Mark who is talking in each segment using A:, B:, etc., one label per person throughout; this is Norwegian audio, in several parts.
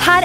A: her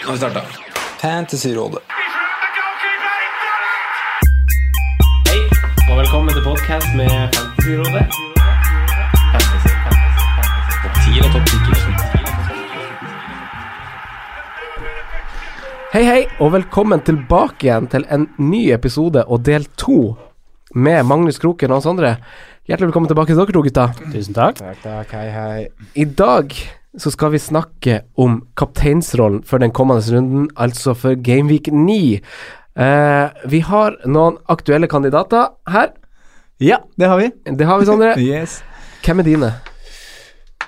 B: Nå har vi starta. Fantasyrådet.
C: Hei, og velkommen til podcast med Fantasyrådet. Topp 10 og topp 10.
D: Hei, hei, og velkommen tilbake igjen til en ny episode og del to med Magnus Kroken og Hans Andre. Hjertelig velkommen tilbake til dere to, gutta.
C: Tusen takk.
D: I dag så skal vi snakke om kapteinsrollen for den kommende runden, altså for Gameweek 9. Eh, vi har noen aktuelle kandidater her.
E: Ja, det har vi.
D: Det har vi, Sondre.
E: Yes.
D: Hvem er dine?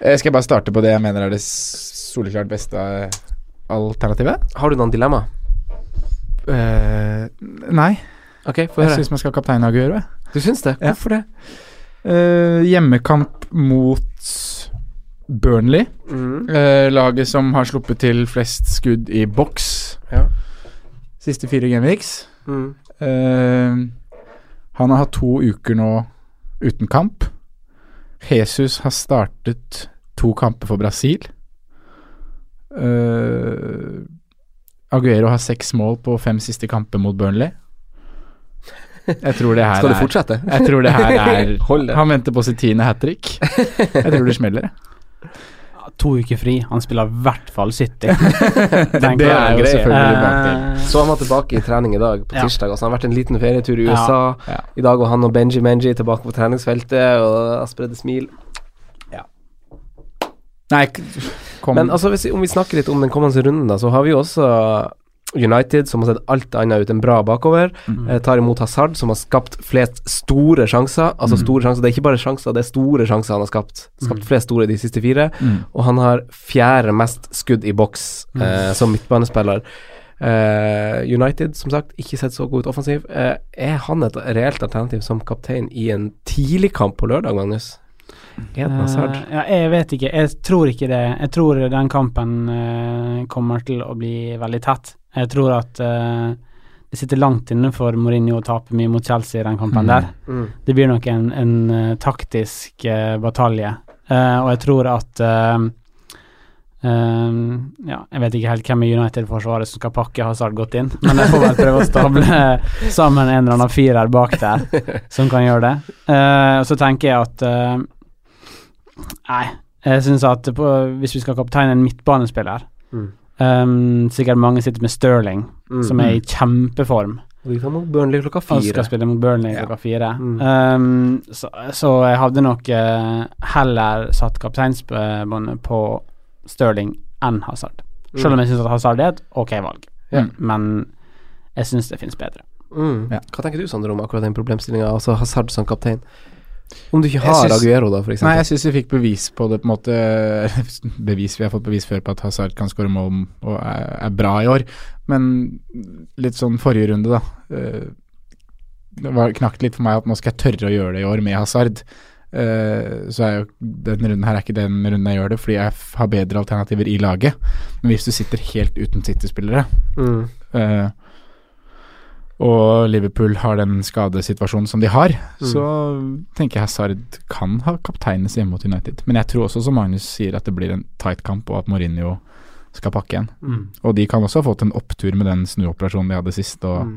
E: Eh, Skal jeg bare starte på det jeg mener er det s- soleklart beste eh, alternativet?
D: Har du noen dilemma?
E: Eh, nei,
D: Ok, få høre.
E: man skal ha kaptein Aguero.
D: Du syns det?
E: Ja.
D: Hvorfor det?
E: hjemmekamp mot Burnley. Eh, laget som har sluppet til flest skudd i boks
D: Ja.
E: siste fire gameweeks.
D: Mm.
E: Eh, han har hatt to uker nå uten kamp. Jesus har startet to kamper for Brasil. Eh, Aguero har seks mål på fem siste kamper mot Burnley. Jeg tror det her
D: Skal du
E: er
D: fortsette?
E: jeg tror det her er
D: Hold det.
E: Han venter på sitt tiende hat trick. Jeg tror det smeller. jeg.
C: To uker fri. Han spiller i hvert fall City.
E: Det er jo selvfølgelig bakdel.
C: Eh,
D: Så han var tilbake i trening i dag, på
C: Ja.
D: tirsdag. Altså, han har vært en liten ferietur i
C: Ja.
D: USA.
E: Ja.
D: I dag var han og Benji Menji tilbake på treningsfeltet, og jeg spredde smil.
E: Nei, k- kom
D: Men altså, hvis, vi- om vi snakker litt om den kommende runden, da, så har vi jo også United, som har sett alt annet ut enn bra bakover. Eh, tar imot Hazard, som har skapt flest store sjanser. Altså store sjanser, Det er ikke bare sjanser, det er store sjanser han har skapt. Skapt flest store de siste fire. Og han har fjerde mest skudd i boks eh, som midtbanespiller. Eh, United, som sagt, ikke sett så god ut offensiv. Eh, er han et reelt alternativ som kaptein i en tidlig kamp på lørdag, Magnus? Er det Hazard?
C: Eh, ja, jeg vet ikke. Jeg tror ikke det. Jeg tror den kampen eh, kommer til å bli veldig tett. Jeg tror at eh, det sitter langt inne for Mourinho å tape mye mot Chelsea i den kampen
E: Mm.
C: der.
D: Mm.
C: Det blir nok en, en eh, taktisk eh, batalje. Eh, og jeg tror at eh, eh, ja, jeg vet ikke helt hvem i United-forsvaret som skal pakke Hazard godt inn, men jeg får vel prøve å stable sammen en eller annen firer bak der som kan gjøre det. Eh, og så tenker jeg at eh, Nei, jeg syns at på, hvis vi skal kapteine en midtbanespiller
D: Mm.
C: eh, Sikkert mange sitter med Sterling,
D: Mm.
C: som er i kjempeform.
D: Og De kan mot Burnley klokka
C: Han skal
D: fire.
C: spille mot Burnley
E: Ja.
C: klokka fire.
D: Mm.
C: Um, så, så jeg hadde nok eh, heller satt kapteinsbåndet på Stirling enn Hazard.
D: Mm.
C: Selv om jeg syns at Hazard er et ok valg,
E: Ja.
C: men jeg syns det finnes bedre.
D: Mm.
E: Ja.
D: Hva tenker du, Sander, om akkurat den problemstillinga? Altså Hazard som kaptein. Om du ikke
E: Jeg
D: har
E: syns-
D: Aguero, da, for
E: Nei,
D: eksempel.
E: jeg syns vi fikk bevis på det, på en måte Bevis, vi har fått bevis før på at Hazard kan skåre mål og er, er bra i år. Men litt sånn forrige runde, da. eh, Det var knakk litt for meg at nå skal jeg tørre å gjøre det i år med Hazard. Eh, Så er jo denne runden her er ikke den runden jeg gjør det, fordi jeg f- har bedre alternativer i laget. Men hvis du sitter helt uten City-spillere
D: Mm.
E: eh, og Liverpool har den skadesituasjonen som de har, så tenker jeg Hazard kan ha kapteines hjemme mot United. Men jeg tror også, som Magnus sier, at det blir en tight kamp, og at Mourinho skal pakke igjen. Og de kan også ha fått en opptur med den snuoperasjonen de hadde sist, og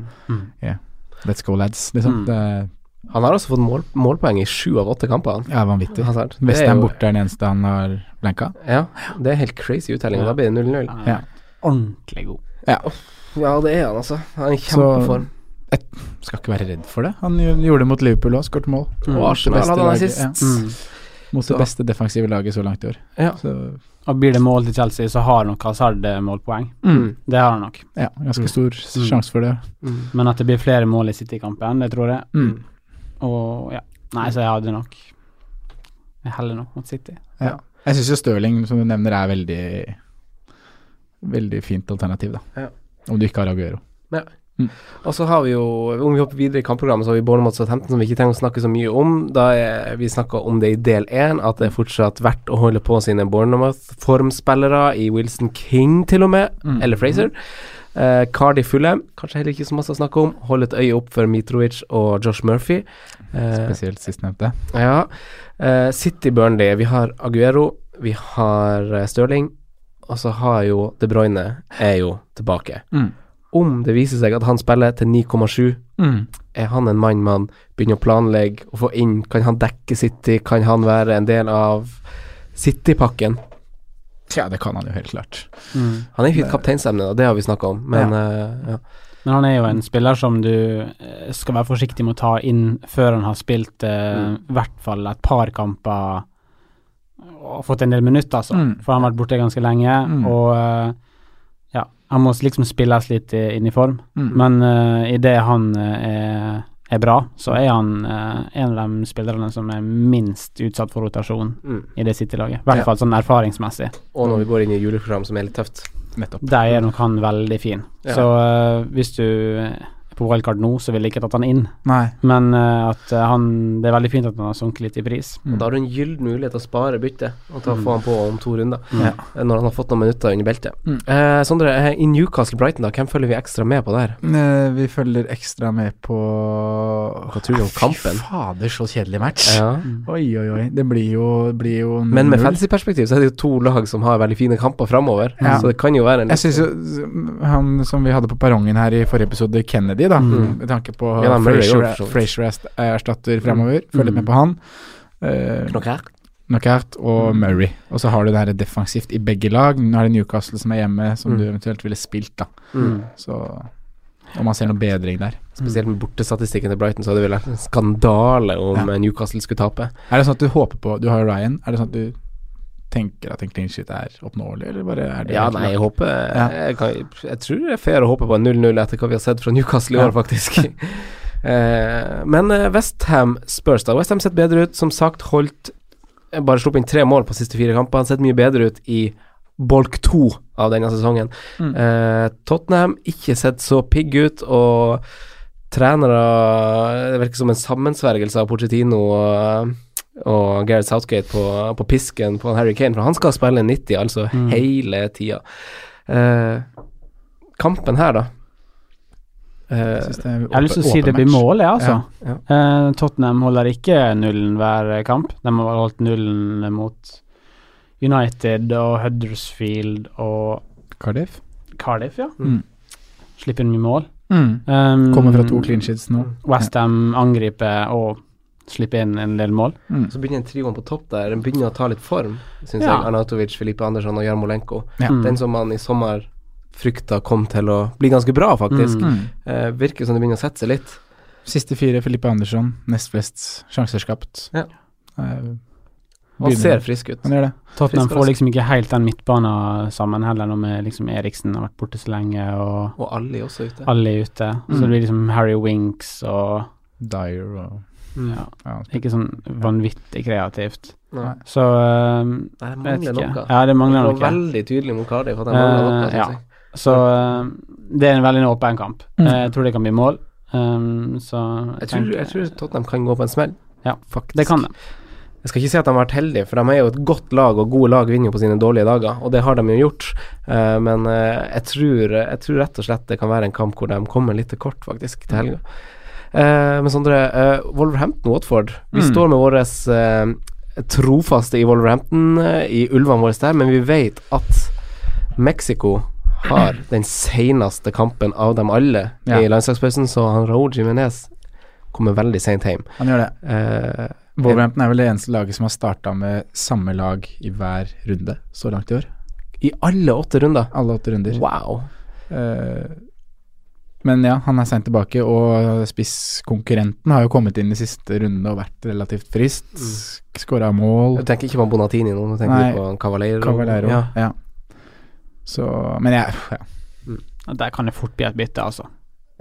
E: yeah. Let's go, lads. Liksom. Det er-
D: Han har også fått mål, målpoeng i sju av åtte kamper. Han.
E: er vanvittig.
D: Hazard. Altså, Det er
E: Westham
D: jo-
E: borte er den eneste han har blanka.
D: Ja, det er helt crazy uttelling. og Da blir det 0-0.
C: Han er
E: Ja.
C: Ordentlig god.
D: Ja, det er han, altså. Han er i
E: Så-
D: kjempeform.
E: skal ikke være redd for det. Han gj- gjorde det mot Liverpool òg, skåret mål.
D: Mm. Og
E: Mot det
D: Arsenal
E: beste
D: hadde han
E: laget,
D: sist.
E: ja.
D: Mm.
E: Mot
D: Så-
E: det beste defensive laget så langt i år. Så,
C: Og blir det mål til Chelsea, så har nok Hazard eh, målpoeng.
E: Mm.
C: Det har han nok.
E: ja, ganske stor s-
C: Mm.
E: sjanse for det.
C: Men at det blir flere mål i City-kampen, det tror jeg.
E: Mm.
C: Og ja. Nei, så jeg hadde nok Jeg heller nok mot City.
E: Ja. Jeg syns jo Stirling, som du nevner, er veldig Veldig fint alternativ, da.
D: Ja.
E: Om du ikke har Aguero.
D: Ja.
E: Mm.
D: Og så har vi jo, om vi hopper videre i kampprogrammet, så har vi Bournemouth Southampton som vi ikke trenger å snakke så mye om. Da er, vi snakka om det i del én, at det er fortsatt verdt å holde på sine Bournemouth-formspillere i Wilson King til og med,
E: Mm.
D: eller Fraser. Eh, Cardiff Fulham, kanskje heller ikke så masse å snakke om. Hold et øye opp for Mitrovic og Josh Murphy. Eh,
E: Spesielt sistnevnte.
D: ja. Eh, City Burnley, vi har Aguero, vi har eh, Stirling, og så har jo De Bruyne er jo tilbake.
E: Mm.
D: Om det viser seg at han spiller til 9,7,
E: Mm.
D: er han en mann man begynner å planlegge og få inn? Kan han dekke City? Kan han være en del av City-pakken?
E: Tja, det kan han jo helt klart.
D: Han er ikke et kapteinsemne, og det har vi snakka om, men eh, ja.
C: Men han er jo en spiller som du eh, skal være forsiktig med å ta inn før han har spilt eh, i
E: Mm.
C: hvert fall et par kamper og fått en del minutter, altså.
E: Mm.
C: For han har vært borte ganske lenge,
E: Mm.
C: og eh, ja, han må liksom spilles litt i- inn i form.
E: Mm.
C: Men uh, idet han eh, er, er bra, så er han eh, en av de spillerne som er minst utsatt for rotasjon
D: Mm.
C: i det City-laget. I hvert fall sånn erfaringsmessig.
D: Og når vi går inn i juleprogram, som er litt tøft.
E: Nettopp.
C: Der er nok han veldig fin.
D: Ja.
C: Så eh, hvis du er på wildcard nå, så ville jeg ikke tatt han inn.
E: Nei.
C: Men eh, at eh, han Det er veldig fint at han har sunket litt i pris.
E: Mm.
D: Og da har du en gyllen mulighet til å spare byttet og ta få han på om to runder,
C: Ja.
D: eh, når han har fått noen minutter under beltet.
E: Mm.
D: Eh, Sondre, eh, i Newcastle Brighton, da, hvem følger vi ekstra med på der?
E: Eh, Vi følger ekstra med på
D: Hva tror du om kampen?
E: Fy fader, så kjedelig match.
D: Ja.
E: Oi, oi, oi. Det blir jo, det blir jo
D: Men med
E: null.
D: fantasyperspektiv så er det jo to lag som har veldig fine kamper framover,
E: Ja.
D: så det kan jo være en
E: Jeg syns jo han som vi hadde på perrongen her i forrige episode, Kennedy, da, med tanke på
D: Mm. Ja, da, Murray
E: Frazier
D: går for så vidt. Mm.
E: Frazier erst- erstatter fremover, følg litt med på han. Eh,
D: Nok her.
E: Knockout og
C: Mm.
E: Murray. Og så har du det her defensivt i begge lag. Nå er det Newcastle som er hjemme, som
D: Mm.
E: du eventuelt ville spilt, da.
D: Mm.
E: Så om man ser noe bedring der.
D: Spesielt med bortestatistikken til Brighton, så hadde det vært en skandale om
E: Ja.
D: eh, Newcastle skulle tape.
E: Er det sånn at du håper på Du har jo Ryan. Er det sånn at du tenker at en clean sheet er oppnåelig, eller bare er det
D: Ja,
E: helt
D: nei, jeg
E: lagt?
D: håper eh,
E: Ja.
D: jeg, kan, jeg tror det er fair å håpe på en 0-0 etter hva vi har sett fra Newcastle i år,
E: Ja.
D: faktisk. Eh, Men Westham spørs, da. Westham sett bedre ut. Som sagt, holdt eh, Bare sluppet inn tre mål på siste fire kamper. Han sett mye bedre ut i bolk to av denne sesongen.
E: Mm.
D: Eh, Tottenham ikke sett så pigg ut, og trenere Det virker som en sammensvergelse av Pochettino og, og Gareth Southgate på, på pisken på Harry Kane, for han skal spille 90, altså
E: Mm.
D: hele tida. Eh, kampen her, da
E: Jeg
D: Eh,
E: synes det er
C: Jeg har lyst til å
E: åpen-
C: si det
E: åpen
C: blir
E: match.
C: mål, jeg, altså.
D: Ja,
C: Eh, Tottenham holder ikke nullen hver kamp. De har holdt nullen mot United og Huddersfield og
E: Cardiff.
C: Cardiff, ja.
E: Mm.
C: Slipper inn mye mål.
E: Mm.
C: Um,
E: Kommer fra to clean sheets nå.
C: Mm. Westham angriper og slipper inn en del mål.
E: Mm.
D: Så begynner trioen på topp der. Den begynner å ta litt form, syns
C: Ja.
D: jeg. Arnatovic, Filipe Andersson og Jarmolenko.
E: Ja.
C: Mm.
D: Den som man i sommer frykta kom til å bli ganske bra, faktisk.
E: Mm.
D: Eh, virker som det begynner å sette seg litt.
E: Siste fire, Filippe Andersson. Nest flest sjanser skapt.
D: Ja.
E: Eh,
D: Han
E: begynner-
D: ser frisk ut.
E: Han gjør det.
C: Tottenham
D: Frisk og
C: får
D: rask.
C: liksom ikke helt den midtbanen sammen heller, nå med liksom Eriksen har vært borte så lenge, og
D: Og Ali også ute.
C: alle er ute.
D: Mm.
C: Så det blir liksom Harry Winks og
E: Dyer og
C: ja,
E: ja, han spiller-
C: Ikke sånn vanvittig kreativt.
D: Nei.
C: Så øhm,
D: Nei, det
C: vet
D: mangler
C: ikke.
D: noe.
C: Ja, det mangler
D: det var
C: noe.
D: veldig tydelig mot Cardiff at de mangler noe.
C: Eh,
D: synes
C: ja.
D: jeg.
C: Så øhm, det er en veldig åpen kamp.
E: Mm.
C: Eh, Jeg tror det kan bli mål. Øhm, så
D: Jeg, tror,
C: tenker-
D: jeg tror Tottenham kan gå på en smell.
C: Ja,
D: faktisk.
C: Det kan det.
D: Jeg skal ikke si at de har vært heldige, for de er jo et godt lag, og gode lag vinner jo på sine dårlige dager, og det har de jo gjort. Eh, men eh, jeg, tror, jeg tror rett og slett det kan være en kamp hvor de kommer litt til kort, faktisk, til helga. Eh, men Sondre, eh, Wolverhampton-Watford. Vi
E: Mm.
D: står med våre eh, trofaste i Wolverhampton, eh, i ulvene våre der, men vi vet at Mexico har den seneste kampen av dem alle
E: Ja.
D: i landslagspausen, så han Raúl Jiménez kommer veldig sent hjem.
E: han gjør det.
D: Eh,
E: Wolverhampton er vel det eneste laget som har starta med samme lag i hver runde så langt i år.
D: I alle åtte runder.
E: Alle åtte runder.
D: Wow.
E: Eh, Men ja, han er seint tilbake, og spisskonkurrenten har jo kommet inn de siste rundene og vært relativt frist. Mm. Skåra mål.
D: Du tenker ikke på Bonatini nå, du tenker
E: Nei.
D: du på Cavaleiro?
E: Cavallero,
D: Ja.
E: ja. Så Men jeg ja.
C: Der kan det fort bli et bytte, altså.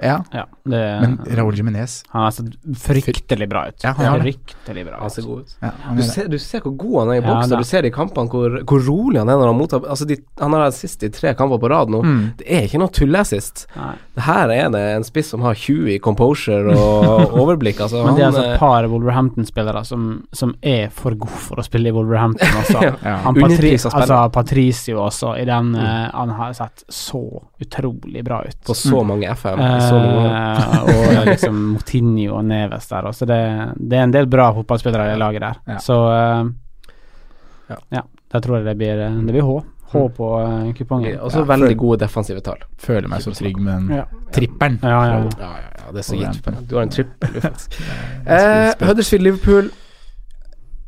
E: ja.
C: Ja, det,
E: Men Raúl Jiménez
C: han har sett fryktelig bra ut.
E: Ja, han har det.
C: Fryktelig bra
D: Han ser
C: ut.
D: god ut.
E: ja, han
D: Du
E: er det.
D: ser, du ser hvor god han er i
C: Ja,
D: boksen,
C: da.
D: og du ser i kampene hvor, hvor rolig han er når han mottar Altså, de, han har assist i tre kamper på rad nå.
E: Mm.
D: Det er ikke noe tulleassist.
C: Nei.
D: Her er det en spiss som har 20 i composure og overblikk, altså.
C: Men det er
D: Han,
C: altså et
D: eh,
C: par Wolverhampton-spillere som, som er for gode for å spille i Wolverhampton også.
E: Ja.
C: han Patri
D: Underpris av spillere.
C: altså Patricio også, i den eh, han har sett så utrolig bra ut.
D: Mm. på så mange FM. i Så mange år.
C: Eh, og liksom Motinho og Neves der også. Det, det er en del bra fotballspillere i det laget der.
E: Ja.
C: Så eh,
E: Ja.
C: ja, da tror jeg det blir, eh, det blir H. H
D: Mm.
C: på eh, kupongen.
D: Også veldig gode defensive tall.
E: Føler meg så trygg med den
C: Ja.
E: trippelen.
C: Ja, ja, ja.
D: Ja, ja, ja, det er så
E: Og
D: gitt.
E: rampen.
D: Du har en trippel, du, faktisk. eh, Huddersfield-Liverpool.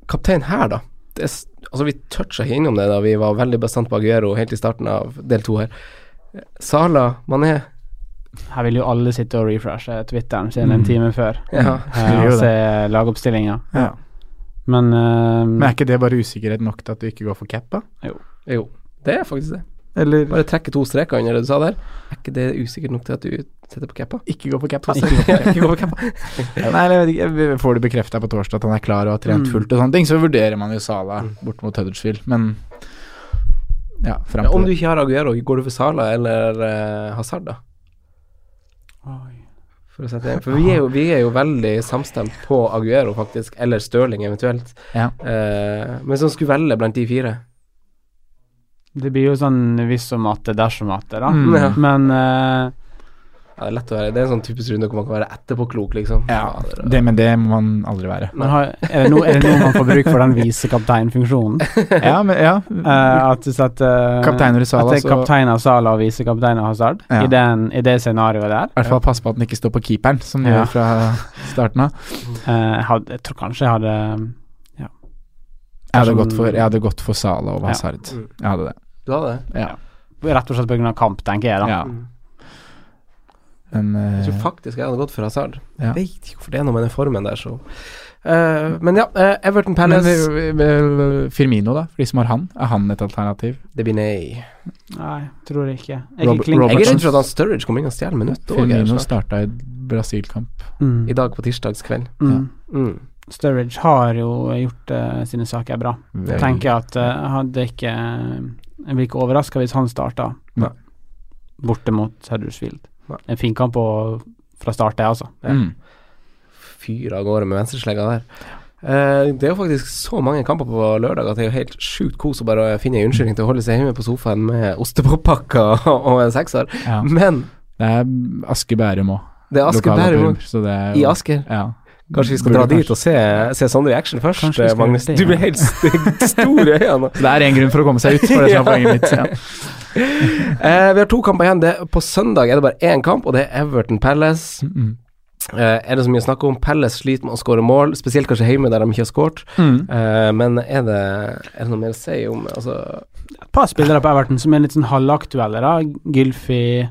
D: Kaptein her, da. Det er, s- altså, vi toucha ikke innom det da vi var veldig bastant på Aguero helt i starten av del to her. Sala, Mané
C: Her vil jo alle sitte og refreshe Twitteren sin
D: Mm.
C: en time før
D: Ja.
C: eh, og se lagoppstillinga.
E: Ja.
C: Men, eh,
E: Men er ikke det bare usikkerhet nok til at du ikke går for cap, da?
D: Jo, det er faktisk det.
E: Eller
D: Bare trekke to streker under det du sa der. Er ikke det usikkert nok til at du setter på cappa?
E: ikke gå for cap, altså. Ikke gå for cap. Nei, eller jeg vet ikke, jeg får det bekrefta på torsdag at han er klar og har trent fullt og sånne ting, så vurderer man jo Sala bort mot Huddersfield, men ja, fram
D: Ja, om
E: til
D: du
E: det.
D: ikke har Aguero, går du for Sala eller eh, Hazard, da? For, å sette det inn. for vi, er jo, vi er jo veldig samstemt på Aguero, faktisk. Eller Stirling, eventuelt.
E: Ja.
D: Eh, men som skulle velge blant de fire.
C: det blir jo sånn hvis og matte, dersom matte, da.
E: Mm.
D: Ja.
C: Men eh,
D: Ja, det er lett å være Det er en sånn typisk runde hvor man kan være etterpåklok, liksom.
E: Ja,
D: det er-
E: det, men det må man aldri være.
C: man har, er, det no, er det noe man får bruk for den vise kapteinfunksjonen?
E: Ja, men ja.
C: Eh, at så at, eh,
E: Kapteiner i Sala,
C: at det er
E: så-
C: kaptein av Sala og visekaptein av Hazard,
E: Ja.
C: i, den, i det scenarioet der.
E: I hvert fall passe på at den ikke står på keeperen, som den
C: Ja.
E: gjør fra starten av.
C: Eh, hadde, jeg tror kanskje jeg hadde
E: Jeg hadde
C: Dersom-
E: gått for, jeg hadde gått for Sala og Hazard. Jeg hadde det.
D: Du har det?
E: Ja.
C: Rett og slett pga. kamp, tenker jeg, da.
E: ja. Men eh,
D: Mm. Jeg tror faktisk jeg hadde gått for Hazard.
E: Ja.
D: Jeg vet ikke hvorfor det er noe med den formen der, så Eh, Men ja, eh, Everton
E: men,
D: Palace det,
E: vi- vi- Firmino, da, for de som har han. Er han et alternativ?
D: blir nei.
C: Nei, tror jeg ikke. Jeg
E: Robert-
C: ikke klink-
D: Jeg er
E: Robertson.
D: redd for at han Sturridge kommer inn og stjeler minutt òg,
E: Firmino starta i Brasil-kamp.
C: Mm.
D: i dag på tirsdagskveld.
C: Mm.
D: Mm.
C: Sturridge har jo gjort eh, sine saker bra. Jeg tenker at eh, hadde ikke Jeg blir ikke overraska hvis han starta
E: Nei.
C: borte mot Huddersfield.
D: Nei.
C: En fin kamp å- fra start, det, altså.
E: Mm.
D: Fyrer av gårde med venstreslegga der. Eh, det er jo faktisk så mange kamper på lørdag at det er jo helt sjukt kos å bare finne en unnskyldning til å holde seg hjemme på sofaen med ostepoppakker og en sekser.
E: Ja.
D: Men
E: Det er Aske Bærum òg.
D: det er Asker Bærum i Asker.
E: Ja.
D: Kanskje vi skal dra dit og se, se Sondre i action først, eh,
C: Kanskje vi skal
D: Magnus.
C: gjøre det,
D: Du blir
C: ja.
D: helt st- stor i øynene.
E: Det er én grunn for å komme seg ut, for det som er poenget mitt. Ja.
D: Eh, vi har to kamper igjen. Det, på søndag er det bare én kamp, og det er Everton Palace.
E: Mm.
D: Eh, er det så mye å snakke om? Palace sliter med å skåre mål, spesielt kanskje hjemme der de ikke har skåret.
E: Mm.
C: Mm.
D: Eh, men er det, er det noe mer å si om altså,
C: Et par spillere på Everton som er litt sånn halvaktuelle, da. Gylfi,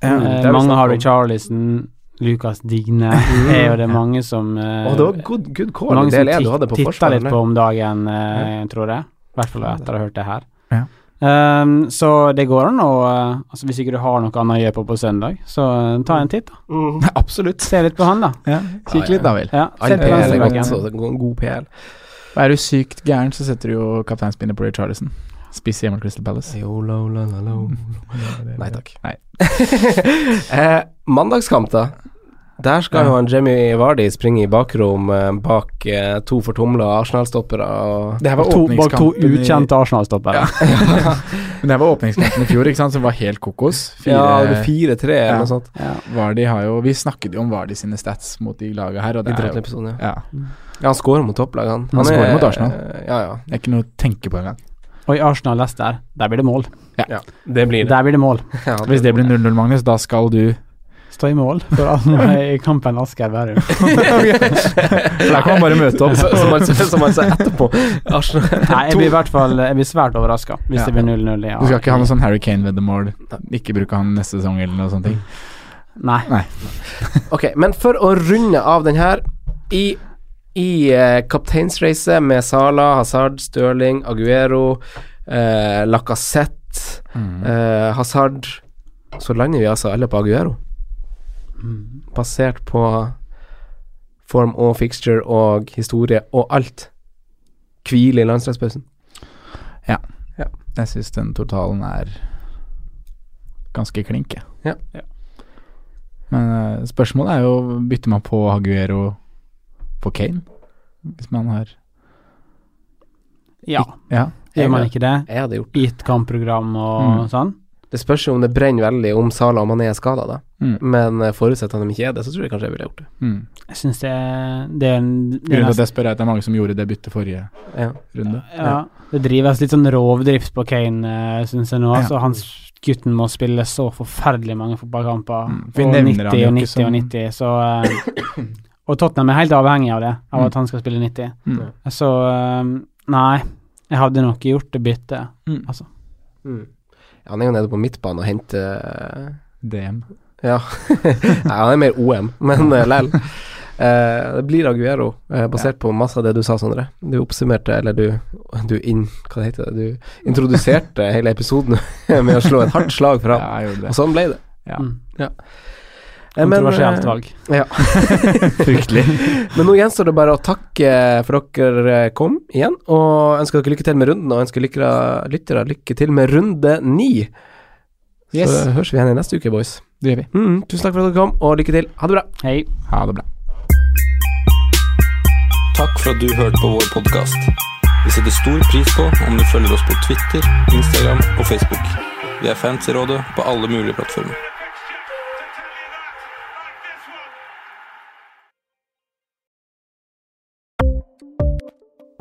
D: Mm, det
C: eh,
D: har vi snakket
C: mange har
D: om.
C: Charlison, Lucas Digne er jo det mange som eh,
D: Å, det var good, good call i
C: mange
D: del
C: som
D: 1 du hadde
C: titt-
D: på
C: titta litt
D: forsvaret.
C: på om dagen, eh, tror jeg. I hvert fall etter å ha hørt det her.
E: Ja.
C: Ehm, så det går an å eh, altså Hvis ikke du har noe annet å gjøre på på søndag, så eh, ta en titt, da.
D: Mhm.
E: Absolutt.
C: Se litt på han, da.
E: Ja. Kikk litt, da vel.
C: Ja,
D: All
C: se på
D: PL er godt,
C: venstrebacken.
D: så det går en god PL.
E: Er du sykt gæren, så setter du jo kapteinspinnet på Ray Charlison. Spiss hjemme i Crystal Palace.
C: Mm.
D: Nei takk.
E: Nei.
D: eh, mandagskamp, da. Der skal jo han Jemmy Vardy springe i bakrom eh, bak eh, to fortumla Arsenal-stoppere. og-
E: Det her var
C: To, bak to
E: åpningskampen i-
C: ukjente Arsenal-stoppere.
E: Men det her var åpningskampen i fjor, ikke sant, som var helt kokos. Fire,
D: Ja, det er 4-3 eller
E: Ja.
D: noe sånt.
E: Vardy har jo Vi snakket jo om Vardy sine stats mot de laga her, og
D: I
E: det er jo
D: Drøtten-episoden, ja.
E: ja,
D: ja. Han scorer mot topplag, han.
E: Han scorer mot Arsenal.
D: eh, Ja, ja.
E: Det er ikke noe å tenke på engang.
C: Og i Arsenal-Leicester, der blir det mål.
D: ja. Det blir det.
C: Der blir det mål.
D: Ja, det-
E: Hvis det blir 0-0, Magnus, da skal du
C: Stå i mål for alle i kampen Asker Bærum.
E: For der kan man bare møte opp.
D: Så- som han sa- Som han sa etterpå. Arsenal
C: Nei, jeg blir i hvert fall Jeg blir svært overraska hvis
E: Ja.
C: det blir 0-0. Ja.
E: Du skal ikke ha noe sånn Harry Kane-veddemål. Ikke bruke han neste sesong eller noe sånt. ting.
C: Nei.
D: ok, men for å runde av den her I, i eh, kapteinsracet med Sala, Hazard, Stirling, Aguero, eh, Lacassette,
C: Mm.
D: eh, Hazard Så lander vi altså alle på Aguero. Basert på form og fixture og historie og alt. Hvile i landslagspausen.
E: Ja. Jeg syns den totalen er ganske klink, jeg.
D: Ja.
E: Men eh, spørsmålet er jo bytter man på Aguero på Kane, hvis man har
C: Ja.
E: Ja.
C: Gjør
E: sånn-
C: man ikke det?
D: Jeg hadde gjort
C: Gitt kampprogram og
E: Mm.
C: sånn?
D: Det spørs jo om det brenner veldig om Sala og Mané er skada, da.
E: Mm.
D: Men eh, forutsatt at de ikke er det, så tror jeg kanskje jeg ville gjort det.
E: Mm.
C: Jeg syns det, det er en det er
E: Grunnen til at
C: nesten-
E: jeg spør, er at det er mange som gjorde det byttet forrige
D: Ja.
E: runde.
C: Ja, det drives litt sånn rovdrift på Kane, uh, syns jeg nå.
E: Ja.
C: Altså, hans gutten må spille så forferdelig mange fotballkamper.
E: Mm, for vi
C: og 90
E: nevner han jo
C: og
E: ikke
C: 90 og
E: som-
C: 90, så eh, Og Tottenham er helt avhengig av det, av
E: Mm.
C: at han skal spille 90.
E: Mm.
C: Så eh, nei, jeg hadde nok gjort det byttet.
E: Mm.
C: Altså,
D: Ja, han er jo nede på midtbanen og henter eh,
E: DM.
D: Ja. Nei, han er mer OM, men uh, lell. Eh, det blir Aguero, eh, basert på masse av det du sa, Sondre. Du oppsummerte, eller du, du inn... Hva det heter det? Du introduserte hele episoden med å slå et hardt slag
E: Ja,
D: fra ham.
E: jeg gjorde
D: Og
E: det.
D: sånn ble det.
E: Ja.
C: Mm.
D: Eh, men,
C: Kontroversielt
D: eh,
C: valg.
D: Ja. Fryktelig. Men nå gjenstår det bare å takke for dere eh, kom igjen, og ønsker dere lykke til med runden, og ønsker lykke, lyttere lykke til med runde ni.
E: Yes.
D: Så høres vi igjen i neste uke, boys.
E: Det gjør vi.
D: Mm, tusen takk for at dere kom, og lykke til. Ha det bra.
C: Hei.
E: Ha det bra.
B: Takk for at du hørte på vår podkast. Vi setter stor pris på om du følger oss på Twitter, Instagram og Facebook. Vi er fans i rådet på alle mulige plattformer.